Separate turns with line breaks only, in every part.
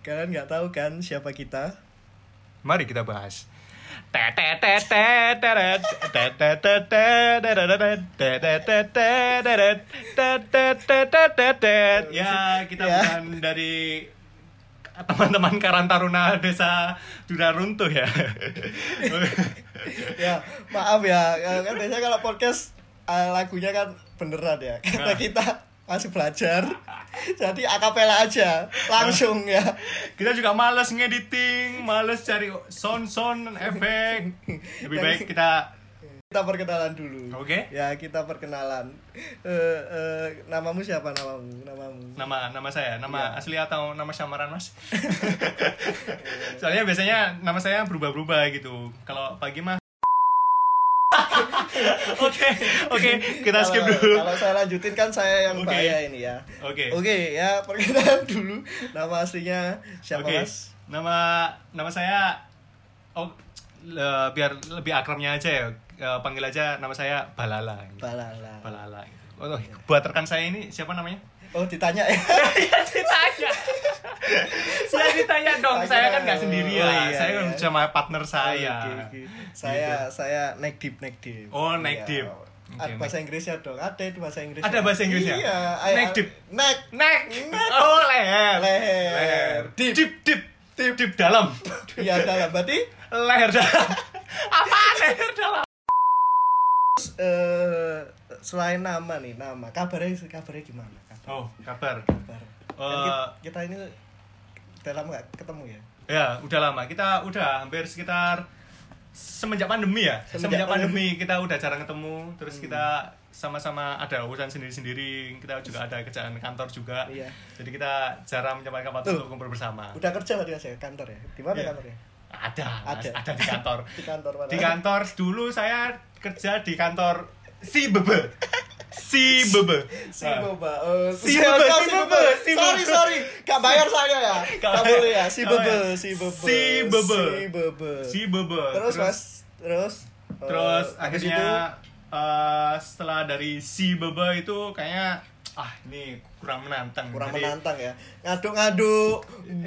Kalian nggak tahu kan siapa kita?
Mari kita bahas. Ya, kita
Ya.
bukan dari teman-teman Karantaruna Desa Duraruntuh ya.
ya, maaf ya. eh, Kan biasanya kalau podcast eh, lagunya kan beneran ya. Karena
Nah.
kita masih belajar. Jadi akapela aja, langsung ya.
Kita juga males ngediting, males cari sound-sound efek. Lebih baik kita
Kita perkenalan dulu.
Oke.
Ya, kita perkenalan. Eh, eh, namamu siapa namamu? Namamu.
nama nama saya
Iya.
nama asli atau nama samaran mas soalnya biasanya nama saya berubah-berubah gitu kalau pagi mah oke oke kita skip
Kalau-
dulu
Kalau saya lanjutin kan saya yang
Oke.
bahaya ini ya.
oke
Oke, ya perkenalan dulu. Nama aslinya siapa,
oke
Mas?
nama nama saya oh le- biar lebih akrabnya aja ya eh, panggil aja nama saya balala gitu.
Balala. Iya.
balala gitu. Oh, buat rekan saya ini siapa namanya?
Oh, ditanya ya.
ditanya. saya ditanya dong,
Tanya.
saya kan nggak
Oh,
sendirian.
iya,
saya kan
iya.
sama partner saya. Gitu.
Oke, oke. Saya saya naik deep, naik deep.
Oh, naik deep.
Ada
Oke, naik-
bahasa Inggrisnya dong. Ada itu bahasa Inggrisnya.
Ada bahasa Inggrisnya?
Iya.
Naik deep.
Naik.
Neck. Oh, leher.
Leher.
Deep. Deep, deep. Deep, deep dalam.
Iya, dalam. Berarti
leher dalam. Apa leher dalam?
eh, selain nama nih, nama. Kabarnya kabarnya gimana? Kabar.
Oh, kabar.
kabar. Kan
Eh.
kita, kita ini udah lama nggak ketemu ya.
Ya, udah lama. Kita udah hampir sekitar semenjak pandemi ya.
Semenjak
Semenjak, pandemi Hmm. kita udah jarang ketemu. Terus kita sama-sama ada urusan sendiri-sendiri. Kita juga ada kerjaan kantor juga.
Iya.
Jadi kita jarang menyempatkan waktu
Tuh.
untuk kumpul bersama.
Udah kerja tadi saya kantor ya. Di mana
Iya.
kantornya?
Ada,
Ada.
Mas. ada, di kantor.
Di kantor mana?
di kantor dulu saya kerja di kantor si bebe. Si bebe.
Si
Ah.
Boba. Oh,
Si Bebe,
oh,
si Bebe, si
Sorry,
Bebe.
sorry. Gak bayar saya ya.
Gak
Gak
bayar.
boleh ya. Si
Gak
Bebe,
bayar.
si Bebe.
Si Bebe.
Si Bebe.
Eh, Si bebe.
Terus, Mas. Terus. eh,
terus
habis
akhirnya
itu,
eh, setelah dari si bebe itu kayaknya ah ini kurang menantang
kurang
Jadi,
menantang ya. Ngaduk-ngaduk.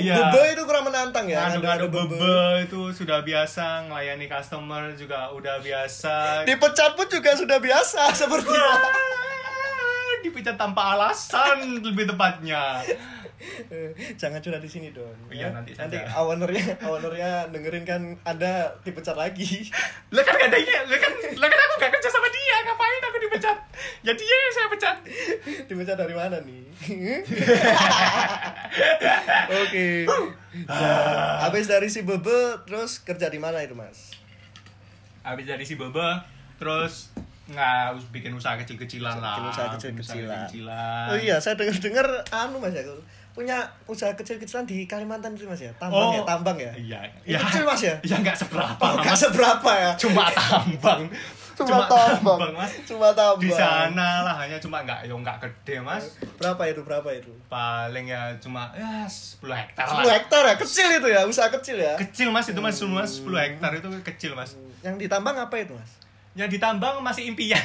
Iya.
Bebe itu kurang menantang ya.
ngadu-ngadu bebe itu sudah biasa ngelayani customer juga udah biasa
Dipecat pun juga sudah biasa seperti
Ah, dipecat tanpa alasan lebih tepatnya
Eh, jangan curhat di sini dong. ya.
Iya, nanti
nanti
saja.
ownernya ownernya dengerin kan Anda dipecat lagi.
lah kan gak ada iya, lah kan lah kan aku gak kerja sama dia ngapain aku dipecat ya dia yang saya pecat
Dibaca dari mana nih? Oke. Nah, Habis dari si Bebe terus kerja di mana itu, Mas?
habis dari si bebe terus nggak us- bikin usaha kecil-kecilan lah
Bikin usaha
Bikin
kecil-kecilan.
kecil-kecilan.
Oh iya, saya dengar-dengar anu Mas ya. Punya usaha kecil-kecilan di Kalimantan itu Mas ya. Tambang ya, tambang ya.
Oh, Iya.
Itu kecil, Mas, ya?
Iya enggak seberapa,
Oh, nggak
Mas.
seberapa ya.
Cuma tambang.
Cuma, tambang.
Mas.
Cuma tambang.
Di sana lah hanya cuma enggak yo enggak gede, Mas.
Berapa itu? Berapa itu?
Paling ya cuma ya 10 hektar
10
lah.
hektar ya, kecil itu ya, usaha kecil ya.
Kecil Mas itu Mas, cuma 10 hektar itu kecil, Mas.
Yang ditambang apa itu, Mas?
Yang ditambang masih impian.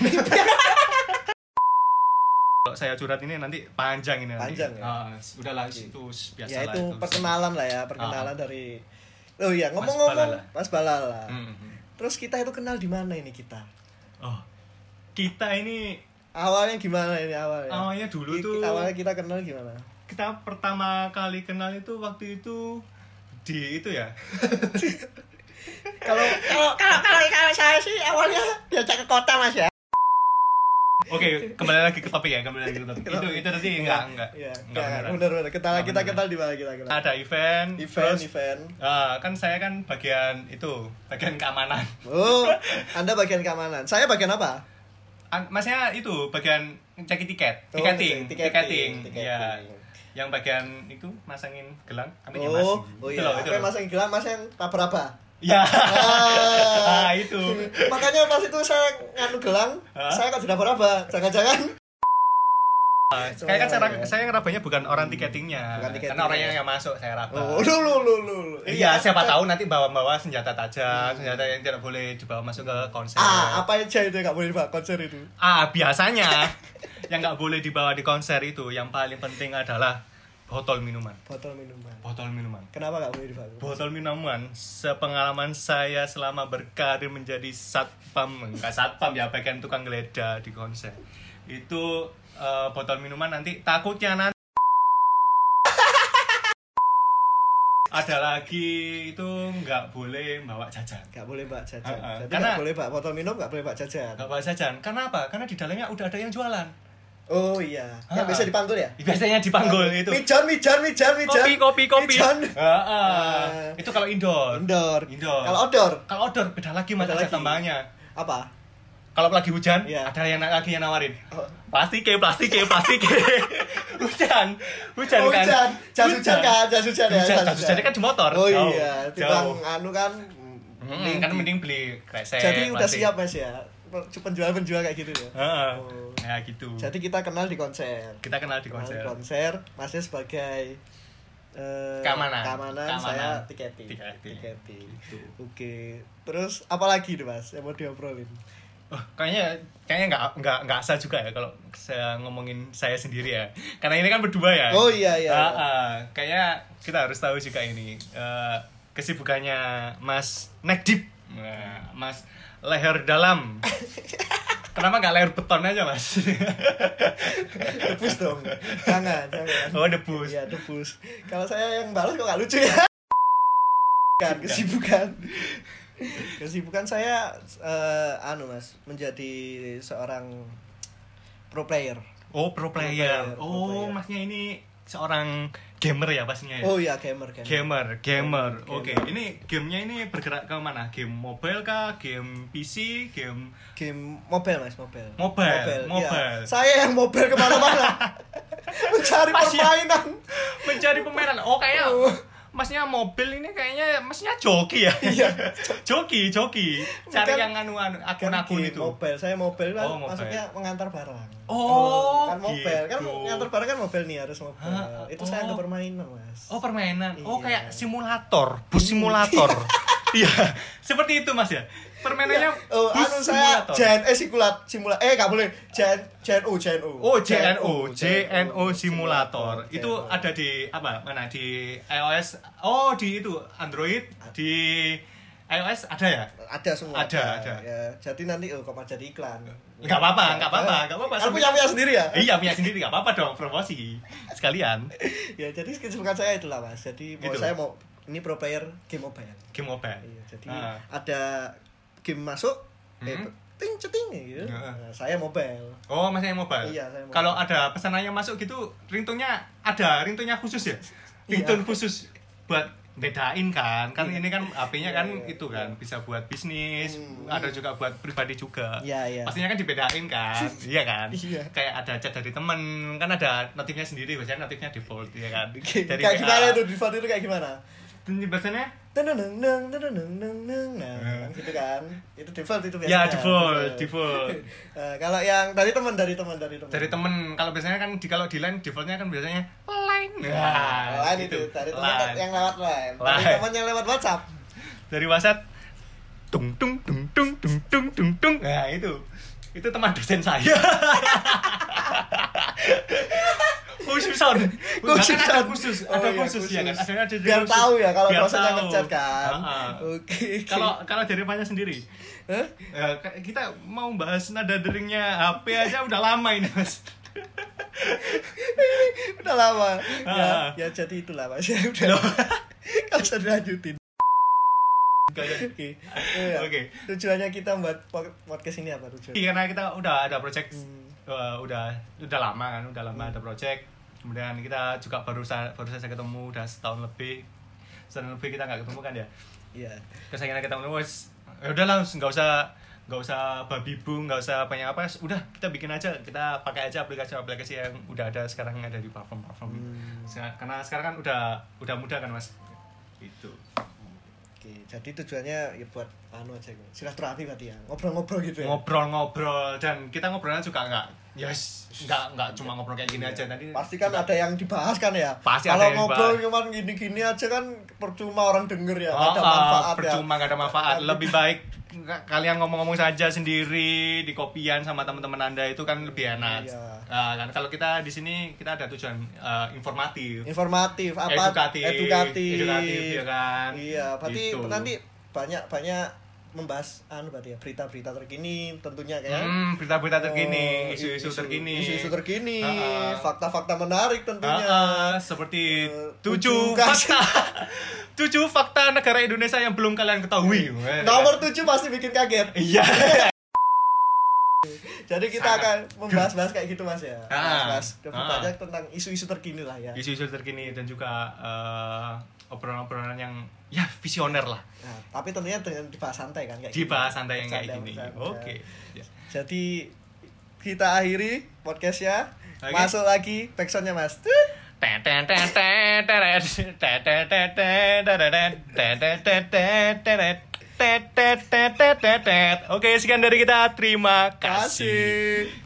Kalau saya curhat ini nanti panjang ini nanti.
Panjang, ya?
Ah, udahlah itu biasa
ya
lah
itu perkenalan lah ya, perkenalan dari Oh iya,
Balala. Hmm.
ngomong-ngomong Mas Balala.
Mm-mm.
Terus kita itu kenal di mana ini kita?
Oh. Kita ini
Awalnya gimana ini awalnya?
Awalnya dulu
Ki-
tuh-
Awalnya Ya. Iya, gitu. kita kenal gimana?
kita pertama kali kenal itu waktu itu di itu ya
Kalau Eh, kalau kalau kalau, kalau saya sih awalnya diajak ke kota mas ya.
oke kembali lagi ke topik ya kembali lagi ke topik itu itu tadi enggak enggak
Iya.
enggak
Ya,
beneran.
bener bener. Kita
Enggak
kita
beneran.
kenal di mana kita kenal?
ada event
Event
terus
event.
ah, kan saya kan bagian itu bagian keamanan
Oh, Anda bagian keamanan. Saya bagian apa?
An- masnya itu bagian ngecek tiket
Oh,
tiketing
ngecek
tiketing
tiketing,
ya
tiketing.
yang bagian itu masangin gelang apa ya mas
Oh, oh
itu
iya.
loh itu
Apa
loh.
mas yang gelap, mas yang raba-raba.
ya
Ah.
Ah, itu
Makanya pas itu saya nganu gelang,
Hah?
saya kan sudah raba Jangan-jangan
kayak kan saya saya ngerabanya bukan orang tiketingnya
Hmm. Bukan
karena
tiketingnya.
orangnya yang masuk saya raba
Oh, lu lu lu lu, lu.
Iya, siapa tahu nanti bawa-bawa senjata tajam, senjata yang tidak boleh dibawa masuk ke konser.
Hmm. Ah, apa aja itu yang gak boleh dibawa konser itu?
Ah, biasanya yang nggak boleh dibawa di konser itu yang paling penting adalah botol minuman
botol minuman
botol minuman
kenapa nggak boleh dibakar
botol minuman sepengalaman saya selama berkarir menjadi satpam enggak satpam ya bagian tukang geledah di konser itu eh, botol minuman nanti takutnya nanti ada lagi itu nggak boleh bawa jajan
nggak boleh mbak jajan
Ah, ah.
jadi
Karena-
nggak boleh mbak botol minum nggak boleh mbak jajan
nggak bawa jajan karena apa karena di dalamnya udah ada yang jualan
oh iya
Ah,
yang
ah.
bisa dipanggul ya
biasanya dipanggul itu
mijan mijan mijan mijan
kopi kopi kopi
mijan
Ah, ah. itu kalau indoor
indoor
Indoor.
kalau outdoor
kalau outdoor beda lagi mas
Beda
ada
lagi.
tambahnya
apa
kalau lagi hujan
Iya.
ada yang lagi yang nawarin
Oh.
plastik plastik plastik hujan hujan
Oh,
kan
hujan jas hujan kan jas hujan ya
Hujan, jas hujan kan di motor,
oh
jauh,
iya
jauh.
timbang anu kan
Hmm, kan mending beli kresek
jadi udah
plastik.
siap mas ya penjual penjual kayak gitu ya
Heeh.
Oh.
ya gitu
jadi kita kenal di konser
kita kenal di
Kenal
konser
di konser masnya sebagai eh,
Keamanan.
keamanan,
Keamanan.
saya tiketing
Tiketing. Gitu.
oke terus apa lagi nih mas yang mau diobrolin
Oh, kayaknya kayaknya nggak nggak nggak asal juga ya kalau saya ngomongin saya sendiri ya karena ini kan berdua ya
Oh, iya, iya.
Ah, ah. kayaknya kita harus tahu juga ini eh, kesibukannya Mas neck deep Nah, Mas leher dalam kenapa nggak leher beton aja Mas
debus dong jangan jangan
oh debus
iya debus kalau saya yang balas kok gak lucu ya kan kesibukan kesibukan saya eh, anu mas menjadi seorang pro player
oh pro
Pro player,
player
pro
oh
player.
masnya ini seorang gamer ya pastinya ya
oh iya Oh, gamer gamer
Gamer, gamer.
Gamer.
Oke, ini gamenya ini bergerak ke mana? Game mobile kah? Game PC? Game
game mobile mas mobile iya.
Mobile, mobile.
saya yang mobile kemana-mana mencari
Pas ya.
permainan
mencari pemeran oh kayak
Oh.
masnya mobil ini kayaknya masnya joki ya
Iya.
joki joki cari
Bukan-
yang anu anu akun
Kan
akun
game
itu
mobile saya mobile kan
Oh, mobile.
maksudnya mengantar barang
Oh,
kan mobile kan
gitu.
mengantar barang kan mobile nih harus mobile
Hah,
itu saya
oh.
nggak permainan mas
oh permainan
Iya. Hmm.
oh kayak simulator bus simulator iya seperti itu mas ya permainannya
Oh,
bus
anu saya
simulator
JNE sikulat simula eh nggak boleh JN JNU JNU.
Oh JNO, JNO simulator. Itu ada di apa? Mana di iOS? Oh, di itu Android, di iOS ada ya?
ada semua.
Ada, ada.
Ya, jadi nanti oh kok malah jadi iklan.
Enggak apa-apa, enggak apa-apa, enggak apa-apa.
Kan punya punya sendiri ya.
iya punya sendiri nggak apa-apa dong promosi sekalian
ya, jadi kesibukan saya itulah Mas. Jadi mau
Gitu.
saya mau ini pro player game mobile.
game mobile
Iya, jadi
Ah.
ada game masuk eh
Hmm. Ah.
ting ceting gitu.
Heeh.
Nah, saya mobile.
oh masih yang mobile
Iya, saya mobile.
kalau ada pesanannya masuk gitu ringtone-nya ada ringtone-nya khusus ya ringtone khusus buat bedain kan kan ini kan HP-nya
Iya. Iya,
kan
iya,
itu kan bisa buat bisnis
Hmm.
ada juga buat pribadi juga
Iya, iya.
pastinya kan dibedain kan iya kan
Iya.
kayak ada chat dari temen kan ada notifnya sendiri biasanya notifnya default ya kan dari
kayak
WA.
gimana tuh di itu kayak gimana?
biasanya
teneneng neng teneneng neng neng nah gitu kan itu default itu biasanya
Ah.
Gitu.
ya default default
Eh, kalau yang dari teman dari teman dari teman
dari temen kalau biasanya kan di kalau di line defaultnya kan biasanya line
nah,
Nah,
lain itu
gitu.
dari teman
Line.
yang lewat line dari
Line.
teman yang lewat WhatsApp
dari WhatsApp tung tung tung tung tung tung tung tung nah itu itu teman dosen saya khusus on
Khusus,
khusus ada
on.
khusus
Oh,
ada
iya,
khusus ya kan
khusus.
ada ada
biar
khusus.
tahu ya kalau
Biar
dosennya
tahu.
ngechat kan
Ah, ah.
oke
kalau kalau dari banyak sendiri
Hah?
eh, kita mau bahas nada deringnya HP aja udah lama ini mas
udah lama ya,
Ah.
ya jadi itulah mas ya udah kalau saya lanjutin oke
Gak-
Iya.
Oke.
tujuannya kita buat po- podcast ini apa tujuan
Iya, karena kita udah ada project
Hmm.
eh, udah udah lama kan udah lama ada project kemudian kita juga baru sa- baru saja ketemu udah setahun lebih setahun lebih kita nggak ketemu kan ya
ya
terus akhirnya kita ketemu wes ya udah lah nggak usah nggak usah babi bu nggak usah banyak apa udah kita bikin aja kita pakai aja aplikasi-aplikasi yang udah ada sekarang yang ada di platform-platform Se- karena sekarang kan udah udah mudah kan mas itu
Oke, jadi tujuannya ya buat anu aja gitu. Silaturahmi berarti ya. Ngobrol-ngobrol gitu ya.
ngobrol-ngobrol dan kita ngobrolnya juga nggak yes nggak nggak cuma ngobrol kayak gini aja tadi
Pasti kan
juga-
ada yang dibahas kan ya.
Pasti ada
Kalau
yang
ngobrol
dibahas.
cuma gini-gini aja kan percuma orang denger ya, nggak ada
Oh, ah,
manfaat ya.
percuma nggak ada manfaat lebih baik nggak- kalian ngomong-ngomong saja sendiri di kopian sama teman-teman anda itu kan lebih enak
Iya.
Ah, kan kalau kita di sini kita ada tujuan eh, informatif
Informatif, apa
edukatif
edukatif.
edukatif, ya kan
Iya, berarti
Gitu.
nanti banyak-banyak membahas anu berarti ya berita-berita terkini tentunya kayak
Hmm, berita-berita
Iya.
terkini,
Oh,
isu-isu terkini.
isu-isu terkini,
Ah, ah.
fakta-fakta menarik tentunya.
Ah, ah, seperti
Eh,
tujuh
tujuh kas-
fakta tujuh fakta negara Indonesia yang belum kalian ketahui Eh,
Nomor 7 pasti bikin kaget.
iya
Jadi kita
Sangat.
akan membahas-bahas kayak gitu Mas ya.
Ah.
Bahas lebih
Ah.
banyak tentang isu-isu terkini lah ya.
isu-isu terkini dan juga eh, obrolan-obrolan yang ya visioner lah
Nah, tapi tentunya dengan dibahas santai kan kayak
dibahas santai yang kayak
Bercanda,
gini
bercanda.
oke Ya.
Jadi kita akhiri podcastnya
Oke.
Masuk lagi backsoundnya Mas. Tut.
Ten, ten, ten, ten, teret. Ten, ten, ten, ten, tereret. Ten, ten, ten, ten, teret. Ten, ten, ten, ten, ten, ten. Oke, sekian dari kita. Terima kasih.
Kasih.